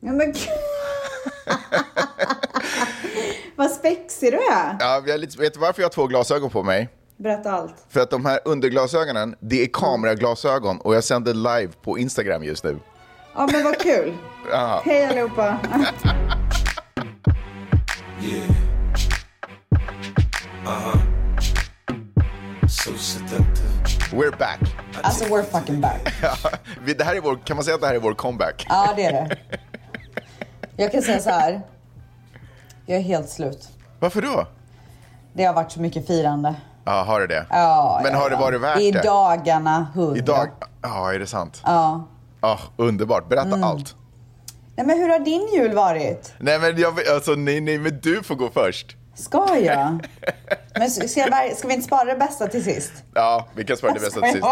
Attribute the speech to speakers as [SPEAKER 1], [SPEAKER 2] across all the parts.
[SPEAKER 1] Ja, men gud. Vad spexig du är.
[SPEAKER 2] Ja, jag är lite, vet du varför jag har två glasögon på mig?
[SPEAKER 1] Berätta allt.
[SPEAKER 2] För att de här underglasögonen, det är kameraglasögon och jag sänder live på Instagram just nu.
[SPEAKER 1] Ja, men vad kul.
[SPEAKER 2] Ja.
[SPEAKER 1] Hej allihopa.
[SPEAKER 3] Yeah. Uh huh. So seductive.
[SPEAKER 2] We're back.
[SPEAKER 4] Alltså, we're fucking back.
[SPEAKER 2] Ja, vi- det här är vår, kan man säga att det här är vår comeback?
[SPEAKER 4] Ja, det är det. Jag kan säga så här. Jag är helt slut.
[SPEAKER 2] Varför då?
[SPEAKER 4] Det har varit så mycket firande.
[SPEAKER 2] Ja, har det det?
[SPEAKER 4] Ja,
[SPEAKER 2] Men
[SPEAKER 4] ja,
[SPEAKER 2] har det
[SPEAKER 4] ja.
[SPEAKER 2] varit värt
[SPEAKER 4] I
[SPEAKER 2] det?
[SPEAKER 4] dagarna hundra.
[SPEAKER 2] Idag? Ja, är det sant?
[SPEAKER 4] Ja.
[SPEAKER 2] Ja, underbart. Berätta
[SPEAKER 4] Mm.
[SPEAKER 2] allt.
[SPEAKER 4] Nej, men hur har din jul varit?
[SPEAKER 2] Nej, men jag vill- alltså, nej, nej, men du får gå först.
[SPEAKER 4] Ska jag? Men s- ska, jag, bara- ska vi inte spara det bästa till sist?
[SPEAKER 2] Ja, vi kan spara det bästa till sist.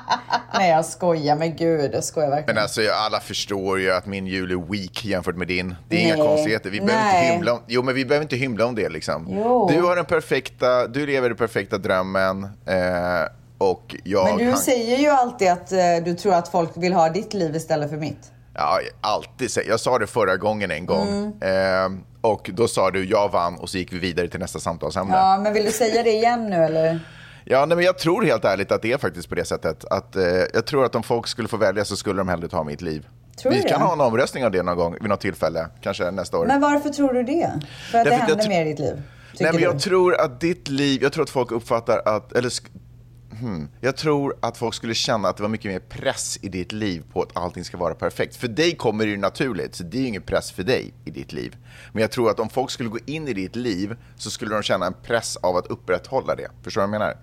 [SPEAKER 4] Nej, jag skojar. Men gud, jag skojar verkligen.
[SPEAKER 2] Men alltså, jag- alla förstår ju att min jul är weak jämfört med din. Det är inga
[SPEAKER 4] Nej.
[SPEAKER 2] konstigheter. Vi behöver, inte
[SPEAKER 4] Nej.
[SPEAKER 2] hymla om, jo, men vi behöver inte hymla om det. Liksom.
[SPEAKER 4] Jo.
[SPEAKER 2] Du har den perfekta, du lever den perfekta drömmen. Eh, och jag
[SPEAKER 4] Men du
[SPEAKER 2] kan-
[SPEAKER 4] säger ju alltid att eh, du tror att folk vill ha ditt liv istället för mitt.
[SPEAKER 2] Ja, jag alltid säger. Jag sa det förra gången en gång.
[SPEAKER 4] Mm.
[SPEAKER 2] Eh, och då sa du jag vann och så gick vi vidare till nästa samtalsämne. Ja.
[SPEAKER 4] Ja, men vill du säga det igen nu eller?
[SPEAKER 2] nej, men jag tror helt ärligt att det är faktiskt på det sättet. Att, eh, jag tror att om folk skulle få välja så skulle de hellre ta mitt liv.
[SPEAKER 4] Tror
[SPEAKER 2] vi
[SPEAKER 4] du
[SPEAKER 2] kan
[SPEAKER 4] det?
[SPEAKER 2] ha en omröstning av det någon gång vid något tillfälle. Kanske nästa år.
[SPEAKER 4] Men varför tror du det? För att
[SPEAKER 2] Därför
[SPEAKER 4] det
[SPEAKER 2] att jag
[SPEAKER 4] händer
[SPEAKER 2] tr-
[SPEAKER 4] mer i ditt liv? Tycker
[SPEAKER 2] Nej, men jag
[SPEAKER 4] du?
[SPEAKER 2] tror att ditt liv, jag tror att folk uppfattar att, eller sk- hmm, jag tror att folk skulle känna att det var mycket mer press i ditt liv på att allting ska vara perfekt. För dig kommer det ju naturligt, så det är ju ingen press för dig i ditt liv. Men jag tror att om folk skulle gå in i ditt liv så skulle de känna en press av att upprätthålla det. Förstår du vad jag menar?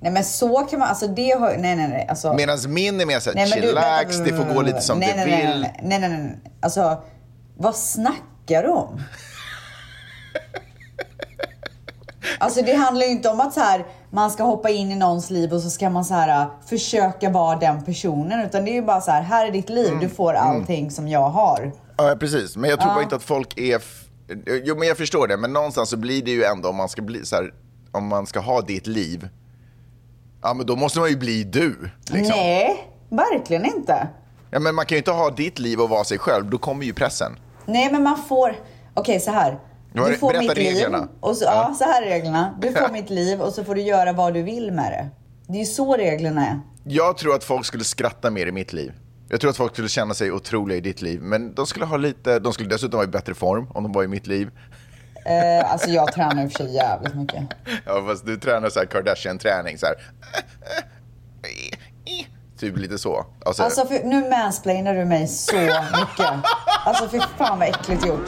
[SPEAKER 4] Nej, men så kan man... Alltså det har... Nej, nej, nej. Alltså...
[SPEAKER 2] Medan min är mer såhär,
[SPEAKER 4] Nej, men du-
[SPEAKER 2] chillax,
[SPEAKER 4] vänta,
[SPEAKER 2] det får gå lite som
[SPEAKER 4] nej, nej,
[SPEAKER 2] det vill.
[SPEAKER 4] Nej, nej, nej, nej, nej. Alltså, vad snackar du om? Alltså det handlar ju inte om att så här, man ska hoppa in i någons liv och så ska man så här, äh, försöka vara den personen. Utan det är ju bara så här, här är ditt liv,
[SPEAKER 2] Mm,
[SPEAKER 4] du får allting som jag har.
[SPEAKER 2] Ja, precis. Men jag tror bara inte att folk är... F... Jo, men jag förstår det. Men någonstans så blir det ju ändå, om man ska, bli så här, om man ska ha ditt liv, ja, men då måste man ju bli du. Liksom.
[SPEAKER 4] Nej, verkligen inte.
[SPEAKER 2] Ja, men man kan ju inte ha ditt liv och vara sig själv. Då kommer ju pressen.
[SPEAKER 4] Nej, men man får... Okej, så här.
[SPEAKER 2] Var-
[SPEAKER 4] Du får
[SPEAKER 2] berätta
[SPEAKER 4] mitt
[SPEAKER 2] reglerna.
[SPEAKER 4] liv. Och så, ja. så här är reglerna. Du får mitt liv och så får du göra vad du vill med det. Det är ju så reglerna är.
[SPEAKER 2] Jag tror att folk skulle skratta mer i mitt liv. Jag tror att folk skulle känna sig otroliga i ditt liv. Men de skulle, ha lite... de skulle dessutom vara i bättre form om de var i mitt liv.
[SPEAKER 4] Eh, alltså jag tränar i och för sig jävligt mycket.
[SPEAKER 2] Ja, fast du tränar så här Kardashian-träning. Så här. Typ lite så. Alltså,
[SPEAKER 4] Alltså för, nu mansplainar du mig så mycket. Alltså fy fan vad äckligt gjort.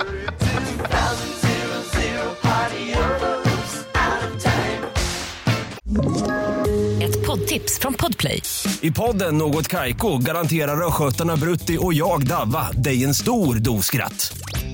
[SPEAKER 5] Ett poddtips från Podplay.
[SPEAKER 6] I podden Något Kaiko garanterar östgötarna Brutti och jag, Davva, dig en stor dos skratt.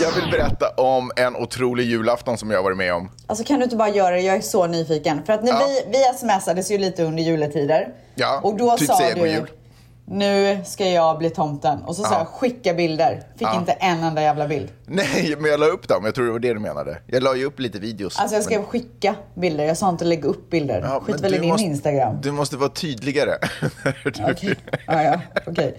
[SPEAKER 2] Jag vill berätta om en otrolig julafton som jag har varit med om.
[SPEAKER 4] Alltså kan du inte bara göra det? Jag är så nyfiken. För att när
[SPEAKER 2] Ja.
[SPEAKER 4] vi, vi smsades ju lite under juletider.
[SPEAKER 2] Ja,
[SPEAKER 4] och då
[SPEAKER 2] typ
[SPEAKER 4] sa
[SPEAKER 2] säga
[SPEAKER 4] du,
[SPEAKER 2] god jul.
[SPEAKER 4] nu ska jag bli tomten. Och så sa
[SPEAKER 2] Ja.
[SPEAKER 4] jag skicka bilder. Fick inte en enda jävla bild.
[SPEAKER 2] Nej, men jag la upp dem. Jag tror det var det du menade. Jag la ju upp lite videos.
[SPEAKER 4] Alltså jag skrev skicka bilder. Jag sa inte lägga upp bilder.
[SPEAKER 2] Ja, men
[SPEAKER 4] Skit väl i
[SPEAKER 2] du
[SPEAKER 4] din
[SPEAKER 2] måste-
[SPEAKER 4] Instagram.
[SPEAKER 2] Du måste vara tydligare. Okej,
[SPEAKER 4] Okej, ja, ja, okej.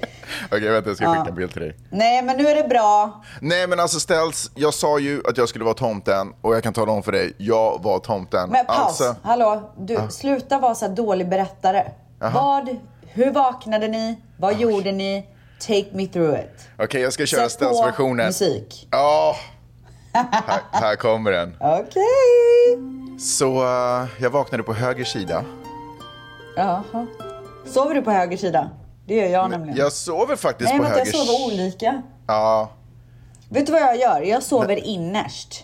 [SPEAKER 2] vänta. Jag ska skicka en bild till dig.
[SPEAKER 4] Nej men nu är det bra.
[SPEAKER 2] Nej, men alltså ställs. Jag sa ju att jag skulle vara tomten och jag kan tala om för dig. Jag var tomten.
[SPEAKER 4] Men paus,
[SPEAKER 2] Alltså,
[SPEAKER 4] hallå. Du, sluta vara så här dålig berättare. Vad, hur vaknade ni? Vad gjorde ni? Take me through it.
[SPEAKER 2] Okej, jag ska köra
[SPEAKER 4] Sätt på
[SPEAKER 2] ställsversionen.
[SPEAKER 4] musik.
[SPEAKER 2] Ja. Här, här kommer den.
[SPEAKER 4] Okej.
[SPEAKER 2] Så eh, jag vaknade på höger sida.
[SPEAKER 4] Jaha. Sover du på höger sida? Det gör jag nämligen.
[SPEAKER 2] Jag sover faktiskt
[SPEAKER 4] Nej,
[SPEAKER 2] på
[SPEAKER 4] men
[SPEAKER 2] höger
[SPEAKER 4] jag sover olika.
[SPEAKER 2] Ja,
[SPEAKER 4] Vet du vad jag gör? Jag sover innerst.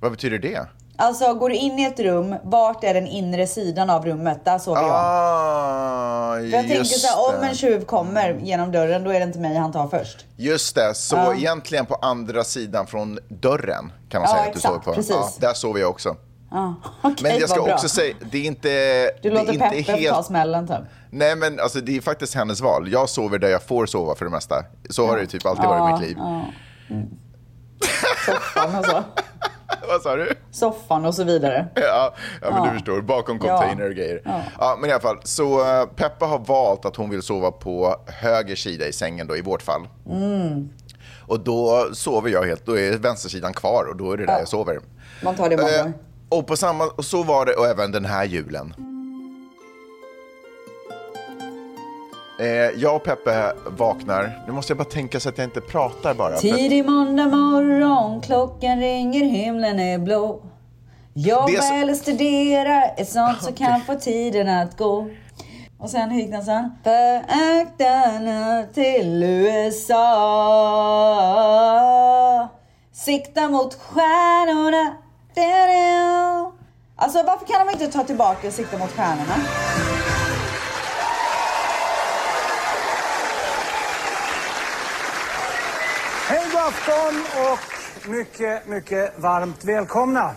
[SPEAKER 2] vad betyder det?
[SPEAKER 4] Alltså, går du in i ett rum, vart är den inre sidan av rummet? Där sover jag.
[SPEAKER 2] Ah,
[SPEAKER 4] För jag tänker
[SPEAKER 2] just
[SPEAKER 4] så här, om
[SPEAKER 2] det.
[SPEAKER 4] en tjuv kommer genom dörren, då är det inte mig han tar först.
[SPEAKER 2] Just det, så egentligen på andra sidan från dörren kan man
[SPEAKER 4] Ja,
[SPEAKER 2] säga att du
[SPEAKER 4] exakt,
[SPEAKER 2] sover på.
[SPEAKER 4] precis.
[SPEAKER 2] där sover jag också.
[SPEAKER 4] Ja, Ah, okej,
[SPEAKER 2] Men jag ska
[SPEAKER 4] vad bra.
[SPEAKER 2] också säga, det är inte...
[SPEAKER 4] Du
[SPEAKER 2] det
[SPEAKER 4] låter
[SPEAKER 2] är inte
[SPEAKER 4] Peppe ta smällen typ.
[SPEAKER 2] Nej men alltså det är faktiskt hennes val. Jag sover där jag får sova för det mesta. Så har det ju typ alltid varit i mitt liv.
[SPEAKER 4] Soffan och så.
[SPEAKER 2] Vad sa du?
[SPEAKER 4] alltså. Soffan och så vidare.
[SPEAKER 2] Ja, ja men du förstår, bakom container och grejer. Ja. men i alla fall, så eh, Peppa har valt att hon vill sova på höger sida i sängen då i vårt fall. Mm. Och då sover jag helt, då är vänstersidan kvar och då är det där jag sover.
[SPEAKER 1] Man tar det många
[SPEAKER 2] Eh,
[SPEAKER 1] gånger.
[SPEAKER 2] och på samma, och så var det och även den här julen. Eh, jag och Peppe vaknar. Nu måste jag bara tänka så att jag inte pratar bara. för-
[SPEAKER 4] Tidig måndag morgon, klockan ringer, himlen är blå.
[SPEAKER 2] Det är
[SPEAKER 4] Jobba
[SPEAKER 2] så-
[SPEAKER 4] eller studera är sånt som kan få tiden att gå. Och sen hiknade han. Föraktarna till USA. Sikta mot stjärnorna. Da-da. Alltså varför kan de inte ta tillbaka Sikta mot stjärnorna?
[SPEAKER 7] Hej god afton och mycket, mycket varmt välkomna.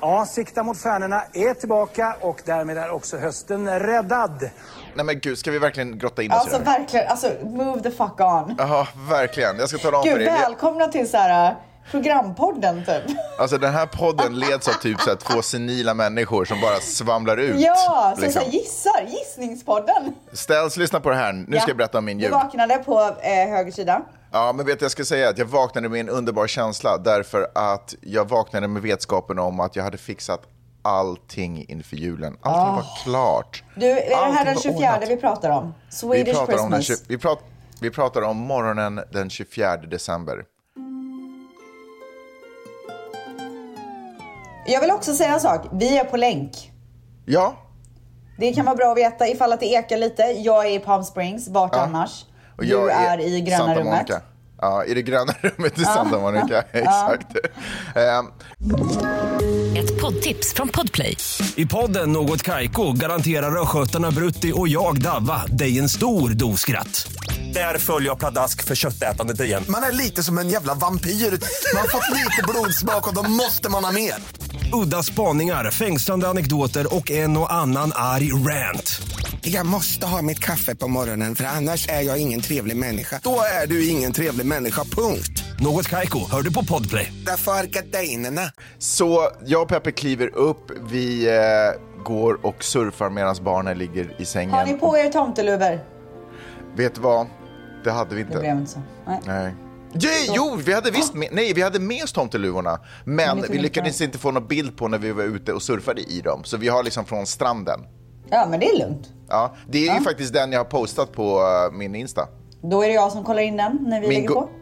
[SPEAKER 7] Ja, Sikta mot stjärnorna är tillbaka och därmed är också hösten räddad.
[SPEAKER 2] Nej men gud, ska vi verkligen grotta in oss
[SPEAKER 4] Alltså
[SPEAKER 2] i det här?
[SPEAKER 4] verkligen, alltså move the fuck on.
[SPEAKER 2] Ja, verkligen. Jag ska tala om för
[SPEAKER 4] Gud,
[SPEAKER 2] er. Jag-
[SPEAKER 4] välkomna till så här eh, programpodden typ.
[SPEAKER 2] Alltså den här podden leds av typ så här två senila människor som bara svamlar ut.
[SPEAKER 4] Ja, som
[SPEAKER 2] liksom.
[SPEAKER 4] så här gissar, gissningspodden.
[SPEAKER 2] Ställs, lyssna på det här. Nu ska jag berätta om min jul.
[SPEAKER 4] Du vaknade på eh, höger sida.
[SPEAKER 2] Ja, men vet du, jag ska säga att jag vaknade med en underbar känsla därför att jag vaknade med vetskapen om att jag hade fixat allting inför julen. Allting var klart.
[SPEAKER 4] Ah. Du, är det här
[SPEAKER 2] Allting
[SPEAKER 4] den
[SPEAKER 2] var
[SPEAKER 4] 24
[SPEAKER 2] ordnat.
[SPEAKER 4] vi pratar om? Swedish
[SPEAKER 2] vi pratar,
[SPEAKER 4] Christmas.
[SPEAKER 2] om den, tju- vi, pratar, vi pratar om morgonen den 24 december.
[SPEAKER 4] Jag vill också säga en sak. Vi är på länk.
[SPEAKER 2] Ja,
[SPEAKER 4] Det kan vara bra att veta ifall att det ekar lite. Jag är i Palm Springs, vart
[SPEAKER 2] Ja.
[SPEAKER 4] annars?
[SPEAKER 2] och jag
[SPEAKER 4] du är, i gröna
[SPEAKER 2] Santa
[SPEAKER 4] rummet.
[SPEAKER 2] Monica. Ja, i det gröna rummet i Santa Monica. Exakt. Ehm,
[SPEAKER 5] Ett poddtips från Podplay.
[SPEAKER 6] I podden Något Kaiko garanterar östgötarna Brutti och jag, Davva, dig en stor dos skratt. Där följer jag pladask för köttätandet igen.
[SPEAKER 8] Man är lite som en jävla vampyr. Man har fått lite blodsmak och då måste man ha mer.
[SPEAKER 6] Udda spaningar, fängslande anekdoter och en och annan arg rant.
[SPEAKER 8] Jag måste ha mitt kaffe på morgonen för annars är jag ingen trevlig människa. Då är du ingen trevlig människa, punkt.
[SPEAKER 6] Något Kaiko, hör du på Podplay.
[SPEAKER 8] Därför är gardinerna.
[SPEAKER 2] Så jag och Peppe kliver upp, vi eh, går och surfar medan barnen ligger i sängen.
[SPEAKER 4] Har ni på er tomteluvor?
[SPEAKER 2] Vet du vad? Det hade vi
[SPEAKER 4] Det
[SPEAKER 2] inte.
[SPEAKER 4] blev inte så. Nej.
[SPEAKER 2] Nej. Jo, jo, vi hade visst med, nej, vi hade med oss tomteluvorna, men
[SPEAKER 4] lite
[SPEAKER 2] vi lyckades inte få någon bild på när vi var ute och surfade i dem. Så vi har liksom från stranden.
[SPEAKER 4] Ja, men det är lugnt.
[SPEAKER 2] Ja, det är ju faktiskt den jag har postat på eh, min Insta.
[SPEAKER 4] Då är det jag som kollar in den när vi
[SPEAKER 2] Min
[SPEAKER 4] lägger
[SPEAKER 2] go-
[SPEAKER 4] på.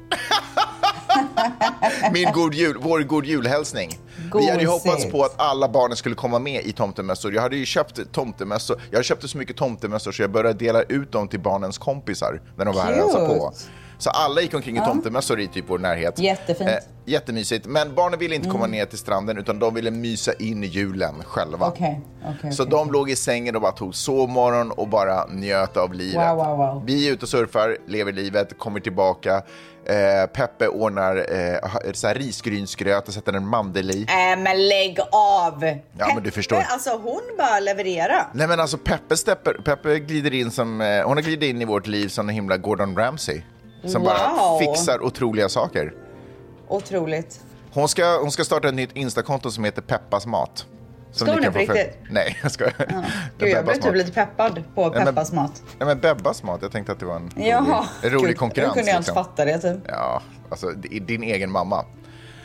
[SPEAKER 2] Min god jul, vår god julhälsning. Vi hade ju hoppats
[SPEAKER 4] Gosigt.
[SPEAKER 2] på att alla barnen skulle komma med i tomtemössor. Jag hade ju köpt tomtemössor. Jag köpte så mycket tomtemössor så jag började dela ut dem till barnens kompisar när de var här och hälsade på.
[SPEAKER 4] Cute.
[SPEAKER 2] Så alla gick omkring i tomtemössor i typ vår närhet.
[SPEAKER 4] Jättefint. Mm.
[SPEAKER 2] jättemysigt. Men barnen ville inte komma ner till stranden utan de ville mysa in julen själva.
[SPEAKER 4] Okej, okej,
[SPEAKER 2] så
[SPEAKER 4] okej.
[SPEAKER 2] de låg i sängen och bara tog sovmorgon och bara njöt av livet.
[SPEAKER 4] Wow, wow, wow.
[SPEAKER 2] Vi är ute och surfar, lever livet, kommer tillbaka. Eh, Peppe ordnar eh, så här risgrynsgröt och sätter en mandel i.
[SPEAKER 4] Nej men lägg av!
[SPEAKER 2] Ja, men du förstår.
[SPEAKER 4] Alltså hon bara leverera.
[SPEAKER 2] Nej men alltså Peppe, stepper, Peppe glider in som, eh, hon har glidit in i vårt liv som en himla Gordon Ramsay. Som bara
[SPEAKER 4] Wow.
[SPEAKER 2] fixar otroliga saker.
[SPEAKER 4] Otroligt.
[SPEAKER 2] Hon ska, hon ska starta ett nytt Instakonto som heter Peppas mat.
[SPEAKER 4] Ska
[SPEAKER 2] Som ni
[SPEAKER 4] hon
[SPEAKER 2] kan
[SPEAKER 4] det på
[SPEAKER 2] få följa-
[SPEAKER 4] riktigt?
[SPEAKER 2] Nej, jag skojar. Ja.
[SPEAKER 4] Gud, jag blev typ lite peppad på
[SPEAKER 2] men-
[SPEAKER 4] Peppas mat.
[SPEAKER 2] Nej men Bebbas mat, jag tänkte att det var en
[SPEAKER 4] Jaha.
[SPEAKER 2] rolig, en rolig
[SPEAKER 4] Gud,
[SPEAKER 2] konkurrens.
[SPEAKER 4] Hur kunde jag ens
[SPEAKER 2] liksom.
[SPEAKER 4] fatta det typ?
[SPEAKER 2] Ja, alltså det är din egen mamma.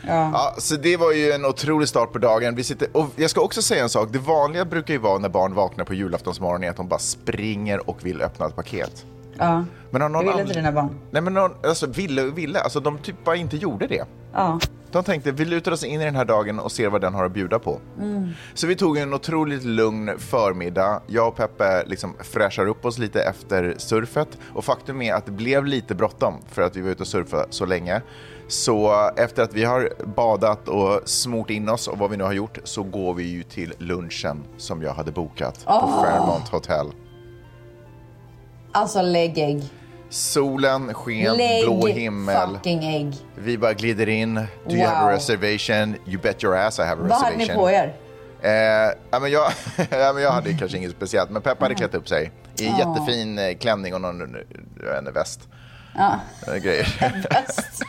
[SPEAKER 2] Ja. så det var ju en otrolig start på dagen. Vi sitter, och jag ska också säga en sak. Det vanliga brukar ju vara när barn vaknar på julaftonsmorgon är att de bara springer och vill öppna ett paket.
[SPEAKER 4] Ja.
[SPEAKER 2] Men av någon
[SPEAKER 4] Det ville
[SPEAKER 2] anled-
[SPEAKER 4] inte dina barn.
[SPEAKER 2] Nej, men någon, alltså ville och ville. Alltså de typ bara inte gjorde det.
[SPEAKER 4] Ja.
[SPEAKER 2] De tänkte, vi lutar oss in i den här dagen och ser vad den har att bjuda på. Så vi tog en otroligt lugn förmiddag. Jag och Peppe liksom fräschar upp oss lite efter surfet. Och faktum är att det blev lite bråttom för att vi var ute och surfade så länge. Så efter att vi har badat och smort in oss och vad vi nu har gjort så går vi ju till lunchen som jag hade bokat
[SPEAKER 4] Ah!
[SPEAKER 2] på Fairmont Hotel.
[SPEAKER 4] Alltså lägg ägg.
[SPEAKER 2] Solen sken,
[SPEAKER 4] Lägg
[SPEAKER 2] blå himmel.
[SPEAKER 4] fucking ägg.
[SPEAKER 2] Vi bara glider in. Do you have a
[SPEAKER 4] Wow.
[SPEAKER 2] reservation? You bet your ass I have a
[SPEAKER 4] Vad hade
[SPEAKER 2] reservation.
[SPEAKER 4] ni på er?
[SPEAKER 2] Eh, ja, men jag, ja, men jag hade kanske inget speciellt, men Peppa hade klätt upp sig i en jättefin eh, klänning och någon jag vet inte, väst. Ja. Grejer.
[SPEAKER 4] Väst.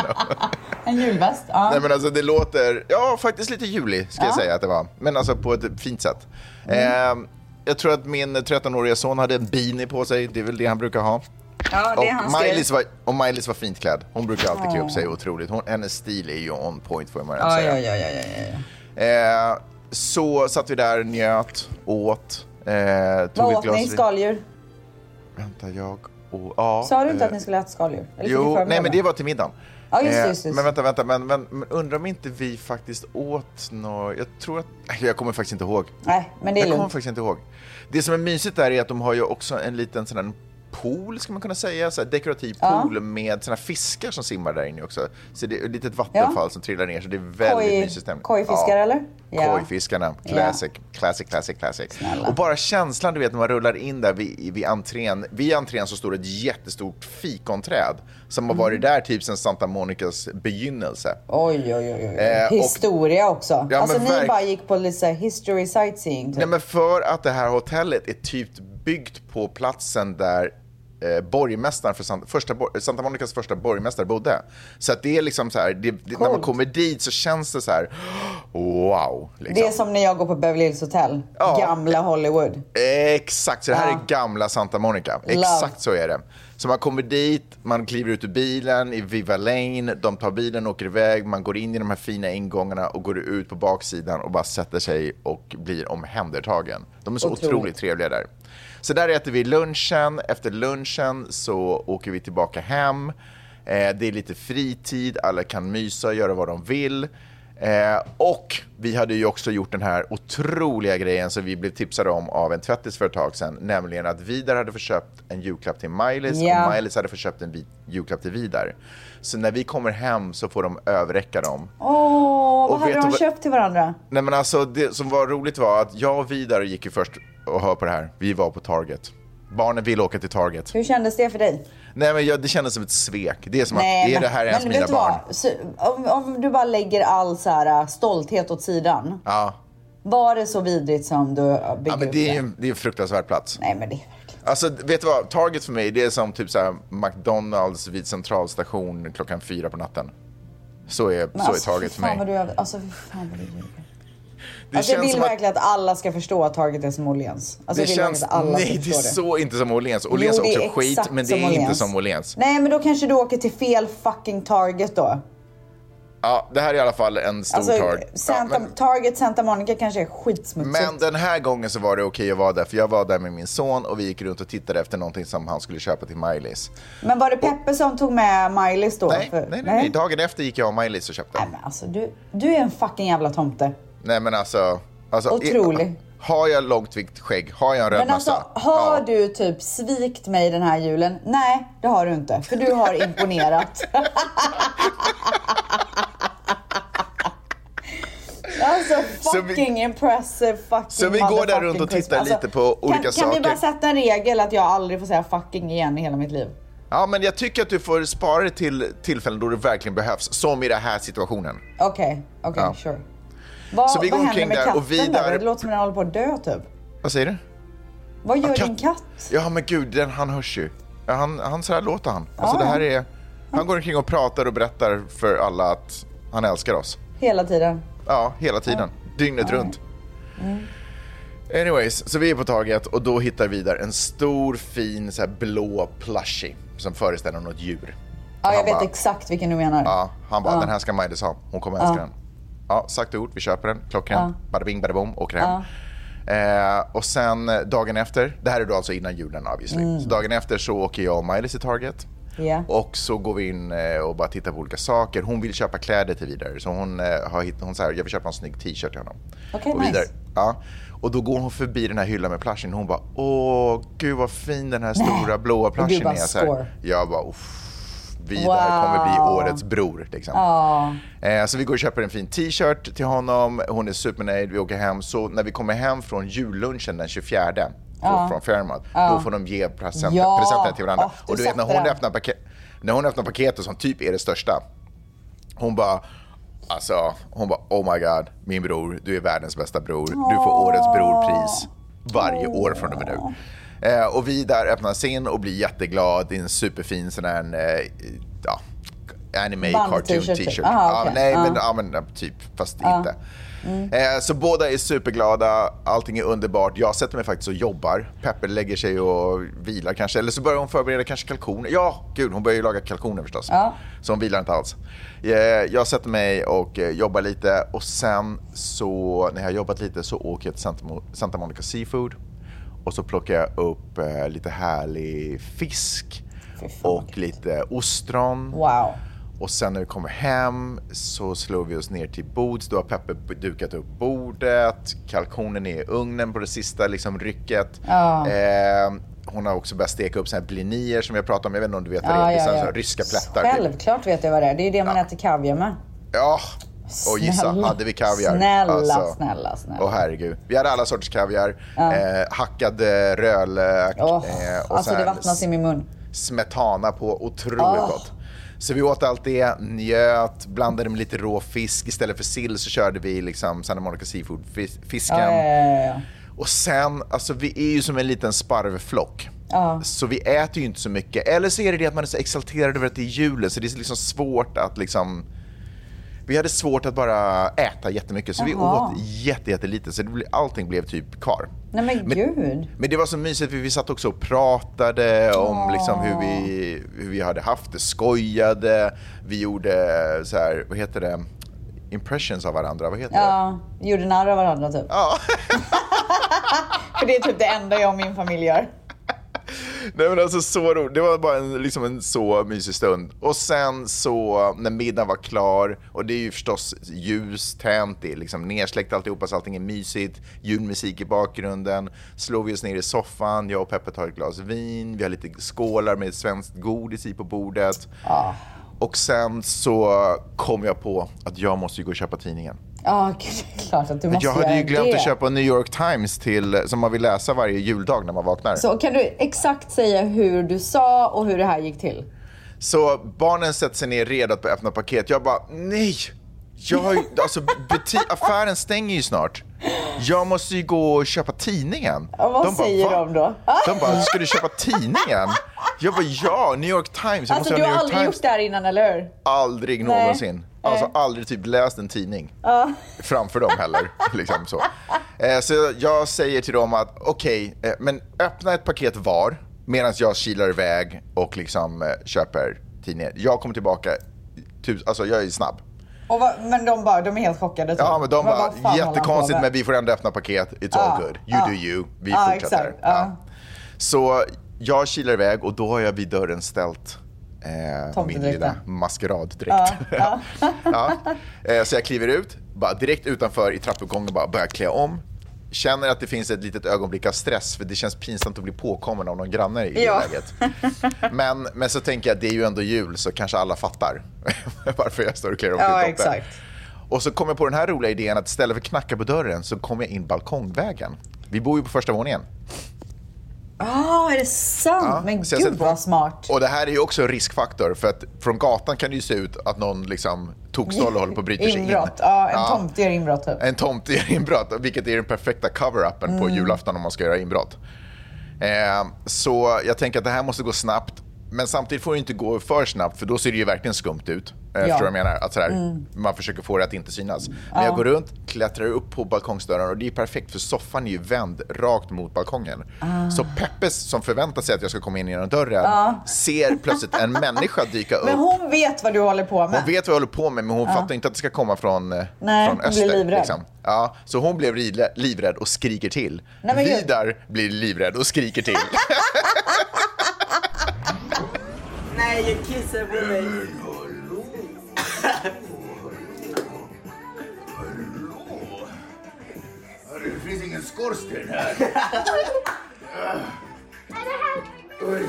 [SPEAKER 4] en julväst. Ja.
[SPEAKER 2] Nej men alltså det låter, ja faktiskt lite julig ska jag säga att det var. Men alltså på ett fint sätt. Eh, jag tror att min 13-åriga son hade en beanie på sig, det är väl det han brukar ha.
[SPEAKER 1] Ja, det är hans
[SPEAKER 2] och
[SPEAKER 1] grej.
[SPEAKER 2] Miley var, och Miley's var fint klädd. Hon brukar alltid klä upp sig otroligt. Hon, hennes stil är ju on point får man
[SPEAKER 4] Ja,
[SPEAKER 2] säga.
[SPEAKER 4] ja, ja, ja, ja, ja.
[SPEAKER 2] Eh, så satt vi där, njöt, åt, eh, tog
[SPEAKER 4] Vad
[SPEAKER 2] ett
[SPEAKER 4] åt
[SPEAKER 2] glas
[SPEAKER 4] ni?
[SPEAKER 2] vin.
[SPEAKER 4] Skaldjur?
[SPEAKER 2] Vänta, jag och... Ja,
[SPEAKER 4] Sa du inte
[SPEAKER 2] eh,
[SPEAKER 4] att ni skulle äta skaldjur? Eller fick ni
[SPEAKER 2] Jo,
[SPEAKER 4] förbereda?
[SPEAKER 2] nej men det var till middagen.
[SPEAKER 4] Ja, just det,
[SPEAKER 2] Eh,
[SPEAKER 4] just det, just
[SPEAKER 2] Men
[SPEAKER 4] det.
[SPEAKER 2] vänta, vänta, men, men, men undrar om inte vi faktiskt åt något... Jag tror att... Jag kommer faktiskt inte ihåg.
[SPEAKER 4] Nej, men det är
[SPEAKER 2] Jag kommer
[SPEAKER 4] lugnt.
[SPEAKER 2] faktiskt inte ihåg. Det som är mysigt där är att de har ju också en liten sån här pool, ska man kunna säga, så här dekorativ pool med såna här fiskar som simmar där inne också. Så det är ett litet vattenfall som trillar ner, så det är väldigt
[SPEAKER 4] Koj-
[SPEAKER 2] mysig stämning.
[SPEAKER 4] kojfiskar, eller? Ja.
[SPEAKER 2] Kojfiskarna, classic, classic, classic, classic.
[SPEAKER 4] Snälla.
[SPEAKER 2] Och bara känslan, du vet, när man rullar in där vid, vid entrén. Vid entrén så står det ett jättestort fikonträd som har
[SPEAKER 4] Mm.
[SPEAKER 2] varit där typ sedan Santa Monicas begynnelse.
[SPEAKER 4] Oj, oj, oj. oj.
[SPEAKER 2] Eh, och-
[SPEAKER 4] Historia också.
[SPEAKER 2] Ja,
[SPEAKER 4] alltså
[SPEAKER 2] men
[SPEAKER 4] ni
[SPEAKER 2] verk-
[SPEAKER 4] bara gick på lite så här history sightseeing. Typ.
[SPEAKER 2] Nej men för att det här hotellet är typ byggt på platsen där eh, borgmästaren för Santa, första, bor- Santa Monicas första borgmästare bodde. Så att det är liksom så här, det, det, när man
[SPEAKER 4] Coolt.
[SPEAKER 2] kommer dit så känns det så här, wow. Liksom.
[SPEAKER 4] det är som när jag går på Beverly Hills Hotel.
[SPEAKER 2] Ja.
[SPEAKER 4] Gamla Hollywood.
[SPEAKER 2] Exakt, så det här
[SPEAKER 4] Ja.
[SPEAKER 2] är gamla Santa Monica.
[SPEAKER 4] Love.
[SPEAKER 2] Exakt så är det. Så man kommer dit, man kliver ut ur bilen i Viva Lane, de tar bilen och åker iväg, man går in i de här fina ingångarna och går ut på baksidan och bara sätter sig och blir omhändertagen. De är så otroligt,
[SPEAKER 4] Otroligt.
[SPEAKER 2] trevliga där. Så där äter vi lunchen, efter lunchen så åker vi tillbaka hem. Eh, det är lite fritid, alla kan mysa och göra vad de vill. Eh, och vi hade ju också gjort den här otroliga grejen som vi blev tipsade om av en tvättis för ett tag sedan. Nämligen att Vidar hade förköpt en julklapp till Miley's
[SPEAKER 4] Ja.
[SPEAKER 2] och Miley's hade förköpt en vit julklapp till Vidar. Så när vi kommer hem så får de överräcka dem.
[SPEAKER 4] Åh,
[SPEAKER 2] Och
[SPEAKER 4] vad hade
[SPEAKER 2] vet
[SPEAKER 4] de
[SPEAKER 2] du vad-
[SPEAKER 4] köpt till varandra?
[SPEAKER 2] Nej men alltså det som var roligt var att jag och Vidar gick ju först och hör på det här. Vi var på Target. Barnen ville åka till Target.
[SPEAKER 4] Hur kändes det för dig?
[SPEAKER 2] Nej men jag, det kändes som ett svek. Det är som att, är
[SPEAKER 4] men-
[SPEAKER 2] det här ens
[SPEAKER 4] men
[SPEAKER 2] mina
[SPEAKER 4] vet du vad?
[SPEAKER 2] barn?
[SPEAKER 4] Så, om, om du bara lägger all så här, äh, stolthet åt sidan.
[SPEAKER 2] Ja.
[SPEAKER 4] Var det så vidrigt som du äh, byggde
[SPEAKER 2] ja, men
[SPEAKER 4] upp
[SPEAKER 2] det är ju en, det är en fruktansvärd plats.
[SPEAKER 4] Nej, men det är verkligen...
[SPEAKER 2] Alltså, vet du vad? Target för mig, det är som typ så här McDonalds vid centralstation klockan fyra på natten. Så är, så
[SPEAKER 4] Men alltså,
[SPEAKER 2] är Target för
[SPEAKER 4] fy fan
[SPEAKER 2] mig.
[SPEAKER 4] Vad du, över- alltså, fy fan vad du ljuger. alltså,
[SPEAKER 2] Det
[SPEAKER 4] jag
[SPEAKER 2] känns
[SPEAKER 4] vill
[SPEAKER 2] som att...
[SPEAKER 4] verkligen att... alla ska förstå att Target är som Åhléns. Alltså,
[SPEAKER 2] Det
[SPEAKER 4] jag vill
[SPEAKER 2] känns,
[SPEAKER 4] verkligen att alla
[SPEAKER 2] nej
[SPEAKER 4] ska
[SPEAKER 2] det är
[SPEAKER 4] förstå det.
[SPEAKER 2] så inte som Åhléns. Åhléns är
[SPEAKER 4] Jo, det
[SPEAKER 2] också
[SPEAKER 4] är
[SPEAKER 2] skit,
[SPEAKER 4] exakt
[SPEAKER 2] men det är
[SPEAKER 4] som
[SPEAKER 2] inte
[SPEAKER 4] Åhléns.
[SPEAKER 2] som Åhléns.
[SPEAKER 4] Nej, men då kanske du åker till fel fucking Target då.
[SPEAKER 2] Ja, det här är i alla fall en stor
[SPEAKER 4] Alltså,
[SPEAKER 2] Target.
[SPEAKER 4] Santa,
[SPEAKER 2] ja, men,
[SPEAKER 4] Target Santa Monica kanske är skitsmutsigt.
[SPEAKER 2] men den här gången så var det okej att vara där, för jag var där med min son och vi gick runt och tittade efter någonting som han skulle köpa till Miley's.
[SPEAKER 4] Men var det Peppe som tog med Miley då?
[SPEAKER 2] Nej,
[SPEAKER 4] För-
[SPEAKER 2] nej, nej, nej. Dagen efter gick jag och Miley's och köpte.
[SPEAKER 4] Nej, men alltså du, du är en fucking jävla tomte.
[SPEAKER 2] Nej men alltså... alltså
[SPEAKER 4] Otrolig.
[SPEAKER 2] i- har jag långtvikt skägg? Har jag en röd
[SPEAKER 4] Men alltså,
[SPEAKER 2] mössa?
[SPEAKER 4] har
[SPEAKER 2] Ja.
[SPEAKER 4] du typ svikt mig den här julen? Nej, det har du inte. För du har imponerat. Alltså
[SPEAKER 2] Så
[SPEAKER 4] fucking
[SPEAKER 2] vi-
[SPEAKER 4] impressive fucking
[SPEAKER 2] Så vi går där
[SPEAKER 4] motherfucking
[SPEAKER 2] runt och tittar
[SPEAKER 4] Christmas. Alltså,
[SPEAKER 2] lite på olika
[SPEAKER 4] kan, Kan
[SPEAKER 2] saker?
[SPEAKER 4] vi bara sätta en regel att jag aldrig får säga fucking igen i hela mitt liv?
[SPEAKER 2] Ja men jag tycker att du får spara det till tillfällen då det verkligen behövs, som i den här situationen.
[SPEAKER 4] Okej, okej,
[SPEAKER 2] Ja.
[SPEAKER 4] sure. Vad,
[SPEAKER 2] Så vi går
[SPEAKER 4] vad händer
[SPEAKER 2] omkring
[SPEAKER 4] med
[SPEAKER 2] där och
[SPEAKER 4] katten
[SPEAKER 2] vidare-
[SPEAKER 4] där? Det låter som den håller på att dö typ.
[SPEAKER 2] Vad säger du?
[SPEAKER 4] Vad gör
[SPEAKER 2] katt-
[SPEAKER 4] din katt?
[SPEAKER 2] Ja men gud, den, han hörs ju. Ja, han, han så här låter han. Alltså, det här är, han går omkring och pratar och berättar för alla att han älskar oss.
[SPEAKER 4] Hela tiden.
[SPEAKER 2] Ja, hela tiden. Dygnet runt.
[SPEAKER 4] Mm.
[SPEAKER 2] Anyways, så vi är på taget och då hittar vi där en stor fin så här, blå plushie som föreställer något djur.
[SPEAKER 4] Ja, jag
[SPEAKER 2] Han
[SPEAKER 4] vet
[SPEAKER 2] bara-
[SPEAKER 4] exakt vilken du menar.
[SPEAKER 2] Ja, han bara, den här ska Maj-Lis ha. Hon kommer älska den. Ja, sagt och gjort. Vi köper den. Klockrent. Bada bing, bada boom. Åker hem. Eh, och sen eh, dagen efter, det här är då alltså innan julen obviously. Så dagen efter så åker jag och Maj-Lis till Target.
[SPEAKER 4] Mm. Ja.
[SPEAKER 2] Och så går vi in eh, och bara tittar på olika saker. Hon vill köpa kläder till vidare. Så hon, eh, har hitt- hon säger, jag vill köpa en snygg t-shirt till honom.
[SPEAKER 4] Okej,
[SPEAKER 2] och Vidar-
[SPEAKER 4] nice.
[SPEAKER 2] Ja. Och då går hon förbi den här hyllan med plushen och hon bara, åh gud vad fin den här stora blåa
[SPEAKER 4] du
[SPEAKER 2] plushen
[SPEAKER 4] bara,
[SPEAKER 2] är. Så här,
[SPEAKER 4] score.
[SPEAKER 2] jag bara, uff. Vidar kommer bli
[SPEAKER 4] Wow.
[SPEAKER 2] årets bror. Liksom. Eh, så vi går och köper en fin t-shirt till honom. Hon är supernöjd. Vi åker hem. Så när vi kommer hem från jullunchen den 24 från- från Fairmont, då får de ge present,
[SPEAKER 4] Ja.
[SPEAKER 2] presenterna till varandra.
[SPEAKER 4] Åh, du
[SPEAKER 2] och du vet när
[SPEAKER 4] satte
[SPEAKER 2] hon,
[SPEAKER 4] den.
[SPEAKER 2] öppnar paket, när hon öppnar paketet som typ är det största, hon bara Alltså, hon bara oh my god, min bror, du är världens bästa bror. Du får årets brorpris varje år från och med nu. Eh, och vi där öppnar scen och blir jätteglad i en superfin sån här, eh, ja, anime
[SPEAKER 4] Band
[SPEAKER 2] cartoon
[SPEAKER 4] t-shirt,
[SPEAKER 2] t-shirt.
[SPEAKER 4] typ. Aha,
[SPEAKER 2] Ja,
[SPEAKER 4] okej.
[SPEAKER 2] nej,
[SPEAKER 4] Ja.
[SPEAKER 2] men Ja men eh, typ, fast inte. Eh, så båda är superglada, allting är underbart. Jag sätter mig faktiskt och jobbar. Peppe lägger sig och vilar kanske. Eller så börjar hon förbereda kanske kalkoner. Ja, gud, hon börjar ju laga kalkoner förstås. Så hon vilar inte alls. Eh, jag sätter mig och eh, jobbar lite och sen så, när jag har jobbat lite så åker jag till Santa, Mo- Santa Monica Seafood. Och så plockar jag upp eh, lite härlig fisk och lite ostron.
[SPEAKER 4] Wow.
[SPEAKER 2] Och sen när vi kommer hem så slog vi oss ner till bords. Då har Peppe b- dukat upp bordet. Kalkonen är i ugnen på det sista liksom, rycket. Eh, hon har också börjat steka upp såna här blinier som jag pratade om. Jag vet inte om du vet vad det är.
[SPEAKER 4] Ja,
[SPEAKER 2] Det är
[SPEAKER 4] ja,
[SPEAKER 2] såna-
[SPEAKER 4] ja.
[SPEAKER 2] såna Ryska plättar. typ.
[SPEAKER 4] Självklart vet jag vad det är. Det är ju det man äter kaviar med.
[SPEAKER 2] Ja. Och gissa, hade vi kaviar? Alltså.
[SPEAKER 4] Snälla, snälla, snälla.
[SPEAKER 2] Åh herregud. Vi hade alla sorters kaviar. Eh, hackad eh, rödlök.
[SPEAKER 4] Åh,
[SPEAKER 2] eh, och
[SPEAKER 4] alltså det
[SPEAKER 2] sen
[SPEAKER 4] vattnas i min mun.
[SPEAKER 2] smetana på. Otroligt
[SPEAKER 4] Åh.
[SPEAKER 2] gott. Så vi åt allt det, njöt, blandade med lite rå fisk. Istället för sill så körde vi liksom Santa Monica Seafood-fisken.
[SPEAKER 4] Ah, Ja, ja, ja, ja.
[SPEAKER 2] Och sen, alltså vi är ju som en liten sparvflock.
[SPEAKER 4] Ah.
[SPEAKER 2] Så vi äter ju inte så mycket. Eller så är det det att man är så exalterad över att det är julen så det är liksom svårt att liksom... Vi hade svårt att bara äta jättemycket så vi
[SPEAKER 4] Jaha.
[SPEAKER 2] åt jätte, jättelite så det blev, allting blev typ kvar.
[SPEAKER 4] Nej men,
[SPEAKER 2] Men-
[SPEAKER 4] gud.
[SPEAKER 2] Men det var så mysigt för vi satt också och pratade om liksom hur, vi, hur vi hade haft det, skojade, vi gjorde så här, vad heter det, impressions av varandra, vad heter det?
[SPEAKER 4] Ja, gjorde narr av varandra typ.
[SPEAKER 2] Ja.
[SPEAKER 4] För det är typ det enda jag och min familj gör.
[SPEAKER 2] Nej men alltså så roligt. Det var bara en, liksom en så mysig stund. Och sen så när middagen var klar och det är ju förstås ljus tänt, det är liksom nersläckt alltihopa så allting är mysigt. Julmusik i bakgrunden. Slår vi oss ner i soffan, jag och Peppe tar ett glas vin, vi har lite skålar med svenskt godis i på bordet.
[SPEAKER 4] Ah.
[SPEAKER 2] Och sen så kom jag på att jag måste ju gå och köpa tidningen.
[SPEAKER 4] Ja, gud, det är klart att du
[SPEAKER 2] Men
[SPEAKER 4] måste
[SPEAKER 2] jag hade ju
[SPEAKER 4] göra
[SPEAKER 2] glömt
[SPEAKER 4] det.
[SPEAKER 2] att köpa New York Times till, som man vill läsa varje juldag när man vaknar.
[SPEAKER 4] Så kan du exakt säga hur du sa och hur det här gick till?
[SPEAKER 2] Så barnen sätter sig ner redo att börja öppna paket. Jag bara, nej! Jag har ju, alltså, buti- affären stänger ju snart. Jag måste ju gå och köpa tidningen.
[SPEAKER 4] Ja, vad säger
[SPEAKER 2] "Va?"
[SPEAKER 4] de då?
[SPEAKER 2] De bara, ska du köpa tidningen? Jag bara, ja, New York Times. Jag
[SPEAKER 4] Alltså
[SPEAKER 2] måste
[SPEAKER 4] du
[SPEAKER 2] ha
[SPEAKER 4] har
[SPEAKER 2] New York
[SPEAKER 4] aldrig
[SPEAKER 2] Times.
[SPEAKER 4] gjort det här innan, eller hur?
[SPEAKER 2] Aldrig
[SPEAKER 4] Nej.
[SPEAKER 2] någonsin. Alltså aldrig typ läst en tidning framför dem heller. liksom så. Eh, så jag säger till dem att okej, eh, men öppna ett paket var medan jag kilar iväg och liksom eh, köper tidningen. Jag kommer tillbaka, tus- alltså jag är snabb.
[SPEAKER 4] Och vad, men de bara, de är helt chockade. typ.
[SPEAKER 2] Ja men de
[SPEAKER 4] Vad- vad fan håller
[SPEAKER 2] bara,
[SPEAKER 4] han på
[SPEAKER 2] jättekonstigt
[SPEAKER 4] med?"
[SPEAKER 2] men vi får ändå öppna paket, it's all good. You
[SPEAKER 4] ja.
[SPEAKER 2] do you, vi
[SPEAKER 4] Ja,
[SPEAKER 2] fortsätter.
[SPEAKER 4] exakt, ja.
[SPEAKER 2] Ja. Så jag kilar iväg och då har jag vid dörren ställt eh, min
[SPEAKER 4] Tomtedräkten.
[SPEAKER 2] lilla maskeraddräkt. Ja. Eh, så jag kliver ut, bara direkt utanför i trappuppgången bara börjar klä om. Känner att det finns ett litet ögonblick av stress för det känns pinsamt att bli påkommen av någon granne i
[SPEAKER 4] Ja.
[SPEAKER 2] det läget. Men, men så tänker jag det är ju ändå jul så kanske alla fattar varför jag står och klär om
[SPEAKER 4] Ja,
[SPEAKER 2] till tomten.
[SPEAKER 4] exakt.
[SPEAKER 2] Och så kom jag på den här roliga idén att istället för att knacka på dörren så kom jag in balkongvägen. Vi bor ju på första våningen.
[SPEAKER 4] Ja, Ah, är det sant?
[SPEAKER 2] Ja,
[SPEAKER 4] men
[SPEAKER 2] så jag
[SPEAKER 4] gud
[SPEAKER 2] sätter på-
[SPEAKER 4] vad smart.
[SPEAKER 2] Och det här är ju också en riskfaktor för att från gatan kan det ju se ut att någon liksom tokstolle håller på att bryta sig in.
[SPEAKER 4] Inbrott, ja, en
[SPEAKER 2] Ja.
[SPEAKER 4] tomte gör inbrott typ.
[SPEAKER 2] En tomt gör inbrott, vilket är den perfekta cover-upen på julafton om man ska göra inbrott. Eh, så jag tänker att det här måste gå snabbt. Men samtidigt får det inte gå för snabbt för då ser det ju verkligen skumt ut. Eh, Förstår du vad jag menar? Att sådär, Man försöker få det att inte synas. Men jag går runt, klättrar upp på balkongsdörren och det är perfekt för soffan är ju vänd rakt mot balkongen. Så Peppes som förväntar sig att jag ska komma in genom dörren ser plötsligt en människa dyka upp.
[SPEAKER 4] Men hon vet vad du håller på med.
[SPEAKER 2] Hon vet vad jag håller på med men hon fattar inte att det ska komma från, eh,
[SPEAKER 4] Nej,
[SPEAKER 2] från
[SPEAKER 4] hon
[SPEAKER 2] öster.
[SPEAKER 4] blir
[SPEAKER 2] liksom.
[SPEAKER 4] livrädd.
[SPEAKER 2] Ja, så hon blev ridlä- livrädd och skriker till.
[SPEAKER 4] Nej, men gud.
[SPEAKER 2] Vidar blir livrädd och skriker till.
[SPEAKER 9] Nej, jag kissar på mig.
[SPEAKER 10] Det finns ingen skorsten här. Oj.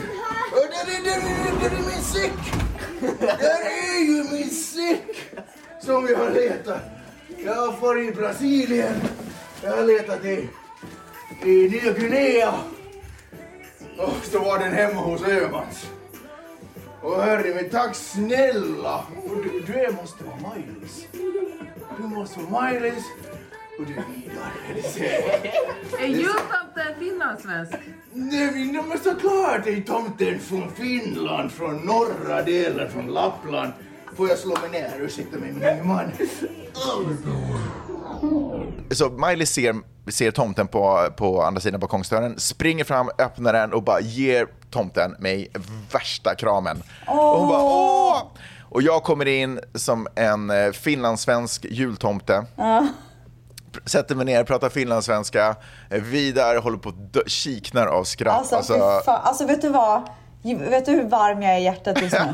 [SPEAKER 10] Oj, Där är, där, är, där är min säck! Där är ju min säck! Som jag letar. Jag har varit i Brasilien. Jag har letat i, i Nya Guinea. Och så var den hemma hos Öhmans. Och hörru, men tack snälla. Och du, du måste vara Maj-Lis. Du måste vara Maj-Lis. Och du är Vidar. eller så.
[SPEAKER 11] Är jultomten finlandssvensk?
[SPEAKER 10] Nej, men de är såklart det är tomten från Finland, från norra delen, från Lappland. Får jag slå mig ner? Ursäkta mig, min man.
[SPEAKER 2] Så Miley ser, ser tomten på, på andra sidan balkongsdörren, springer fram, öppnar den och bara ger tomten mig värsta kramen. Och hon bara åh! Och jag kommer in som en eh, finlandssvensk jultomte.
[SPEAKER 1] Ja.
[SPEAKER 2] Sätter mig ner, pratar finlandssvenska. Eh, Vidar håller på att dö- kiknar av skratt.
[SPEAKER 4] Alltså, fy fan. alltså vet du vad? Vet du hur varm jag är i hjärtat just nu?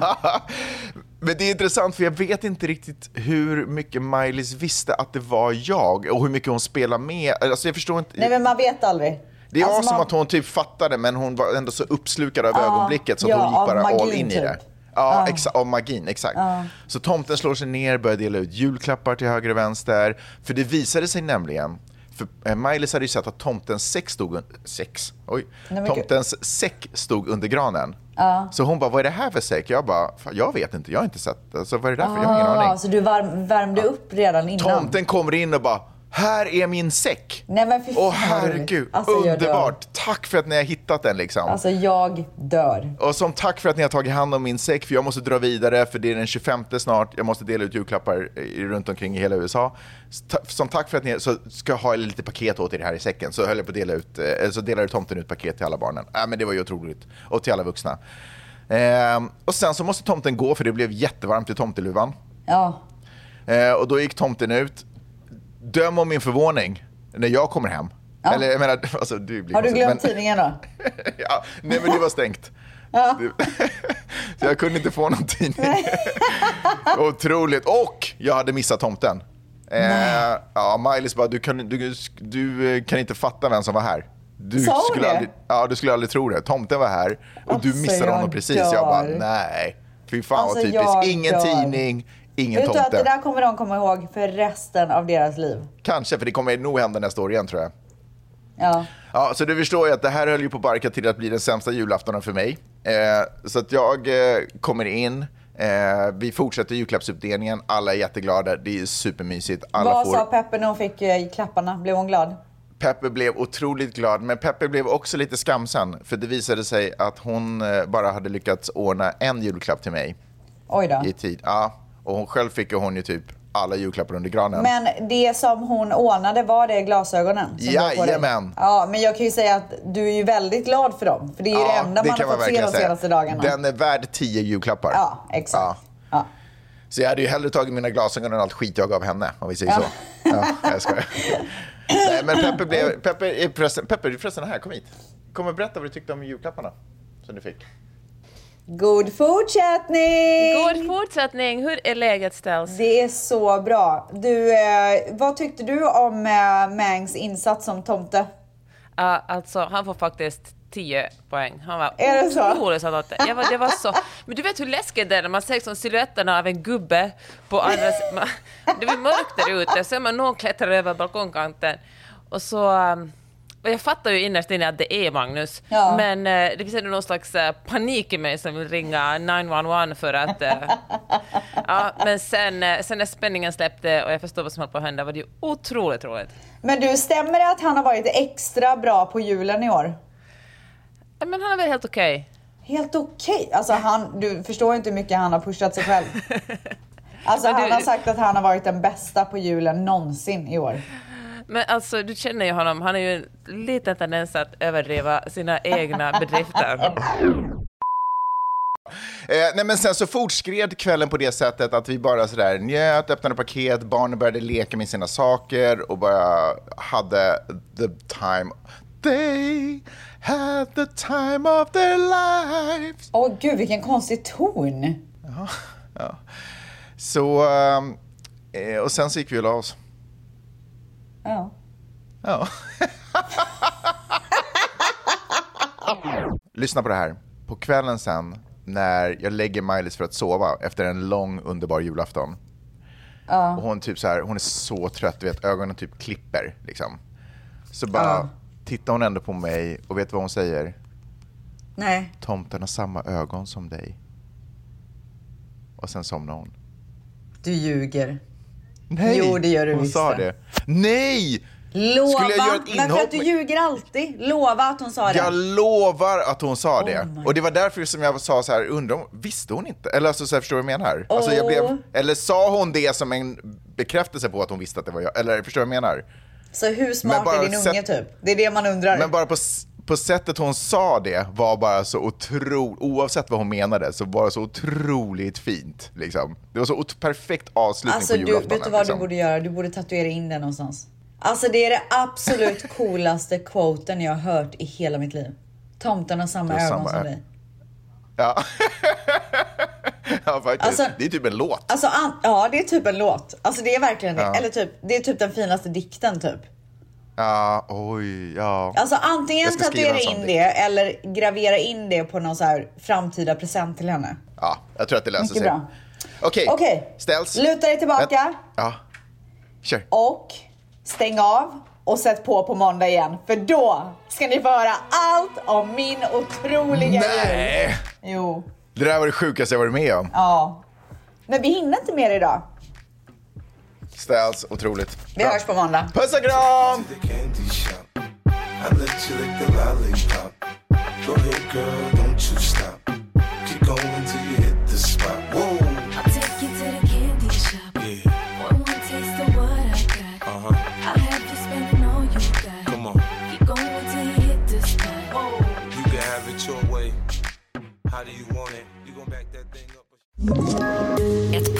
[SPEAKER 2] Men det är intressant för jag vet inte riktigt hur mycket Miley's visste att det var jag och hur mycket hon spelar med. Alltså jag förstår inte.
[SPEAKER 4] Nej men man vet aldrig.
[SPEAKER 2] det är
[SPEAKER 4] Alltså,
[SPEAKER 2] som
[SPEAKER 4] man-
[SPEAKER 2] att hon typ fattade men hon var ändå så uppslukad av
[SPEAKER 4] Ja,
[SPEAKER 2] ögonblicket så att
[SPEAKER 4] ja,
[SPEAKER 2] hon
[SPEAKER 4] av
[SPEAKER 2] gick bara all
[SPEAKER 4] magin
[SPEAKER 2] in i
[SPEAKER 4] typ.
[SPEAKER 2] det. Ja,
[SPEAKER 4] Ja.
[SPEAKER 2] exa- av magin, exakt.
[SPEAKER 4] Ja.
[SPEAKER 2] Så tomten slår sig ner, börjar dela ut julklappar till höger och vänster. För det visade sig nämligen, för eh, Miley's hade ju sett att tomtens säck stod, un- sex, oj,
[SPEAKER 4] Nej, men gud.
[SPEAKER 2] tomtens säck stod under granen.
[SPEAKER 4] Ja.
[SPEAKER 2] Så hon bara, vad är det här för säck? Jag bara, "Fan, jag vet inte, jag har inte sett. Alltså, vad är det där för? Jag har ingen
[SPEAKER 4] Ah,
[SPEAKER 2] aning.
[SPEAKER 4] så du varm, värmde upp redan innan?
[SPEAKER 2] Tomten kommer in och bara, här är min säck.
[SPEAKER 4] Nej men fy fan
[SPEAKER 2] Åh
[SPEAKER 4] vad roligt.
[SPEAKER 2] herregud,
[SPEAKER 4] Alltså, jag dör.
[SPEAKER 2] underbart. Tack för att ni har hittat den liksom.
[SPEAKER 4] Alltså jag dör.
[SPEAKER 2] Och som tack för att ni har tagit hand om min säck, för jag måste dra vidare, för det är den 25 snart. Jag måste dela ut julklappar eh, runt omkring i hela USA. Ta- Som tack för att ni så ska jag ha lite paket åt er här i säcken. Så höll jag på att dela ut, eh, så delade tomten ut paket till alla barnen. Äh, men det var ju otroligt. Och till alla vuxna. Ehm, och sen så måste tomten gå, för det blev jättevarmt i tomteluvan.
[SPEAKER 4] Ja.
[SPEAKER 2] Eh, och då gick tomten ut. Döm om min förvåning när jag kommer hem.
[SPEAKER 4] Ja.
[SPEAKER 2] Eller jag menar, alltså, det blir
[SPEAKER 4] Har du
[SPEAKER 2] konstigt,
[SPEAKER 4] glömt
[SPEAKER 2] men-
[SPEAKER 4] tidningen då?
[SPEAKER 2] ja, nej men det var stängt.
[SPEAKER 4] Ja.
[SPEAKER 2] Så jag kunde inte få någon tidning. Otroligt. Och jag hade missat tomten. Eh, ja, Miley's bara, du kan, du, du eh, kan inte fatta vem som var här. Du
[SPEAKER 4] Sa hon
[SPEAKER 2] skulle,
[SPEAKER 4] det?
[SPEAKER 2] aldrig, ja, du skulle aldrig tro det. Tomten var här och du
[SPEAKER 4] Alltså,
[SPEAKER 2] missade
[SPEAKER 4] jag
[SPEAKER 2] honom precis. Jag bara,
[SPEAKER 4] dör.
[SPEAKER 2] nej. Fy fan
[SPEAKER 4] Alltså,
[SPEAKER 2] vad
[SPEAKER 4] jag
[SPEAKER 2] typiskt. Ingen
[SPEAKER 4] dör.
[SPEAKER 2] tidning, ingen
[SPEAKER 4] Vet du
[SPEAKER 2] tomte.
[SPEAKER 4] att det där kommer de komma ihåg för resten av deras liv?
[SPEAKER 2] Kanske, för det kommer nog hända nästa år igen tror jag.
[SPEAKER 4] Ja.
[SPEAKER 2] Ja, så du förstår ju att det här höll ju på att barka till att bli den sämsta julaftonen för mig. Eh, så att jag eh, kommer in, eh, vi fortsätter julklappsutdelningen, alla är jätteglada, det är supermysigt. Alla
[SPEAKER 4] Vad
[SPEAKER 2] får...
[SPEAKER 4] sa Peppe när hon fick eh, klapparna? Blev hon glad?
[SPEAKER 2] Peppe blev otroligt glad, men Peppe blev också lite skamsen, för det visade sig att hon eh, bara hade lyckats ordna en julklapp till mig
[SPEAKER 4] Oj då.
[SPEAKER 2] i tid. Ja, och hon själv fick ju hon ju typ alla julklappar under granen.
[SPEAKER 4] Men det som hon ordnade, var det glasögonen? som var på dig?
[SPEAKER 2] Jajamän.
[SPEAKER 4] Ja, men jag kan ju säga att du är ju väldigt glad för dem. För det är ju det enda man
[SPEAKER 2] kan
[SPEAKER 4] har
[SPEAKER 2] man
[SPEAKER 4] fått se
[SPEAKER 2] verkligen
[SPEAKER 4] de
[SPEAKER 2] säga.
[SPEAKER 4] senaste dagarna.
[SPEAKER 2] Den är värd tio julklappar.
[SPEAKER 4] Ja, exakt.
[SPEAKER 2] Ja. Så jag hade ju hellre tagit mina glasögon än allt skit jag gav henne, om vi säger
[SPEAKER 4] Ja.
[SPEAKER 2] så. Ja, jag skojar. Nej, men Peppe, blev, Peppe, är förresten, Peppe, du är förresten här, kom hit. Kom och berätta vad du tyckte om julklapparna som du fick.
[SPEAKER 4] God fortsättning!
[SPEAKER 11] God fortsättning! Hur är läget ställs?
[SPEAKER 4] Det är så bra. Du, eh, vad tyckte du om eh, Mangs insats som tomte?
[SPEAKER 11] Ja, alltså, han får faktiskt 10 poäng. Han var
[SPEAKER 4] Är det så?
[SPEAKER 11] otroligt så? att jag var, det var så. Men du vet hur läskigt det är när man ser liksom silhuetterna av en gubbe på andra sidan. Det blir mörkt där ute, så är man någon klättrar över balkongkanten. Och så... um, Och jag fattar ju innerst inne att det är Magnus,
[SPEAKER 4] Ja.
[SPEAKER 11] men eh, det finns ändå någon slags eh, panik i mig som vill ringa 911 för att... eh, ja, men sen, eh, sen när spänningen släppte och jag förstod vad som höll på att hända var det ju otroligt roligt.
[SPEAKER 4] Men du, stämmer det att han har varit extra bra på julen i år?
[SPEAKER 11] Ja, Men han är väl helt okej?
[SPEAKER 4] Helt okej. Alltså han, du förstår inte hur mycket han har pushat sig själv. Alltså
[SPEAKER 11] Men du-
[SPEAKER 4] han har sagt att han har varit den bästa på julen någonsin i år.
[SPEAKER 11] Men alltså, du känner ju honom. Han är ju en liten tendens att överdriva sina egna bedrifter.
[SPEAKER 2] Eh, nej, men sen så fortskred kvällen på det sättet att vi bara sådär njöt, öppnade paket, barnen började leka med sina saker och bara hade the time. They had the time of their lives.
[SPEAKER 4] Åh gud vilken konstig ton.
[SPEAKER 2] Ja. Så, ehm, eh, och sen så gick vi och la oss.
[SPEAKER 4] Ja.
[SPEAKER 2] Ja. Lyssna på det här. På kvällen sen, när jag lägger Miley's för att sova efter en lång underbar julafton.
[SPEAKER 4] Ja.
[SPEAKER 2] Och hon, typ så här, hon är så trött, du vet, ögonen typ klipper. Liksom. Så bara
[SPEAKER 4] Ja.
[SPEAKER 2] tittar hon ändå på mig och vet du vad hon säger?
[SPEAKER 4] Nej.
[SPEAKER 2] Tomten har samma ögon som dig. Och sen somnade hon.
[SPEAKER 4] Du ljuger.
[SPEAKER 2] Nej,
[SPEAKER 4] Jo, det gör du
[SPEAKER 2] hon
[SPEAKER 4] visst
[SPEAKER 2] sa
[SPEAKER 4] det.
[SPEAKER 2] det. Nej!
[SPEAKER 4] Lova.
[SPEAKER 2] Skulle jag göra ett
[SPEAKER 4] Därför att
[SPEAKER 2] inhopp?
[SPEAKER 4] du ljuger alltid. Lova att hon sa det.
[SPEAKER 2] Jag lovar att hon sa
[SPEAKER 4] Oh
[SPEAKER 2] det. Och det var därför som jag sa så här, undrar om, visste hon inte? Eller alltså, så här, förstår du vad jag menar? Alltså, jag
[SPEAKER 4] Åh.
[SPEAKER 2] blev, eller sa hon det som en bekräftelse på att hon visste att det var jag? Eller förstår du vad jag menar?
[SPEAKER 4] Så hur smart
[SPEAKER 2] Men bara
[SPEAKER 4] är din unge
[SPEAKER 2] sätt-
[SPEAKER 4] typ? Det är det man undrar.
[SPEAKER 2] Men bara på, s- på sättet hon sa det var bara så otroligt, oavsett vad hon menade, så var det så otroligt fint. Liksom. Det var så ot- perfekt avslutning
[SPEAKER 4] Alltså
[SPEAKER 2] på
[SPEAKER 4] du,
[SPEAKER 2] julaftonen.
[SPEAKER 4] vet du vad
[SPEAKER 2] liksom.
[SPEAKER 4] du borde göra? Du borde tatuera in den någonstans. Alltså det är det absolut coolaste quoten jag har hört i hela mitt liv. Tomten har samma
[SPEAKER 2] Det är
[SPEAKER 4] ögon
[SPEAKER 2] samma
[SPEAKER 4] som
[SPEAKER 2] ö-
[SPEAKER 4] dig.
[SPEAKER 2] Ja. ja, faktiskt.
[SPEAKER 4] Alltså-
[SPEAKER 2] det är typ en låt.
[SPEAKER 4] Alltså an- ja, det är typ en låt. Alltså det är verkligen det.
[SPEAKER 2] Ja.
[SPEAKER 4] Eller typ, det är typ den finaste dikten typ.
[SPEAKER 2] Ja, oj, ja.
[SPEAKER 4] Alltså antingen
[SPEAKER 2] Jag ska skriva en
[SPEAKER 4] tatuera
[SPEAKER 2] sån
[SPEAKER 4] in
[SPEAKER 2] dikt.
[SPEAKER 4] det eller gravera in det på någon så här framtida present till henne.
[SPEAKER 2] Ja, jag tror att det löser
[SPEAKER 4] Mycket
[SPEAKER 2] sig.
[SPEAKER 4] bra.
[SPEAKER 2] Okej,
[SPEAKER 4] Okej.
[SPEAKER 2] ställs.
[SPEAKER 4] Luta dig tillbaka
[SPEAKER 2] Vänt- Ja, kör.
[SPEAKER 4] och stäng av och sätt på på måndag igen. För då ska ni få höra allt om min otroliga jul.
[SPEAKER 2] Nej!
[SPEAKER 4] Jo,
[SPEAKER 2] Det där var det sjukaste jag varit med om.
[SPEAKER 4] ja. Men vi hinner inte mer idag.
[SPEAKER 2] Ställs, alltså otroligt.
[SPEAKER 4] Vi hörs på måndag.
[SPEAKER 2] Puss och kram!
[SPEAKER 3] the candy shop. I let you lick the lollipop. Go ahead, girl, don't you stop. Keep going till you hit the spot. Whoa,
[SPEAKER 12] I'll take you to the candy shop.
[SPEAKER 3] yeah,
[SPEAKER 12] One more taste of what I got.
[SPEAKER 3] uh huh.
[SPEAKER 12] I'll have you spending all you got.
[SPEAKER 3] Come on,
[SPEAKER 12] Keep going till you hit the spot.
[SPEAKER 3] you can have it your way. How do you want it? You gon' back that thing up.
[SPEAKER 5] Ett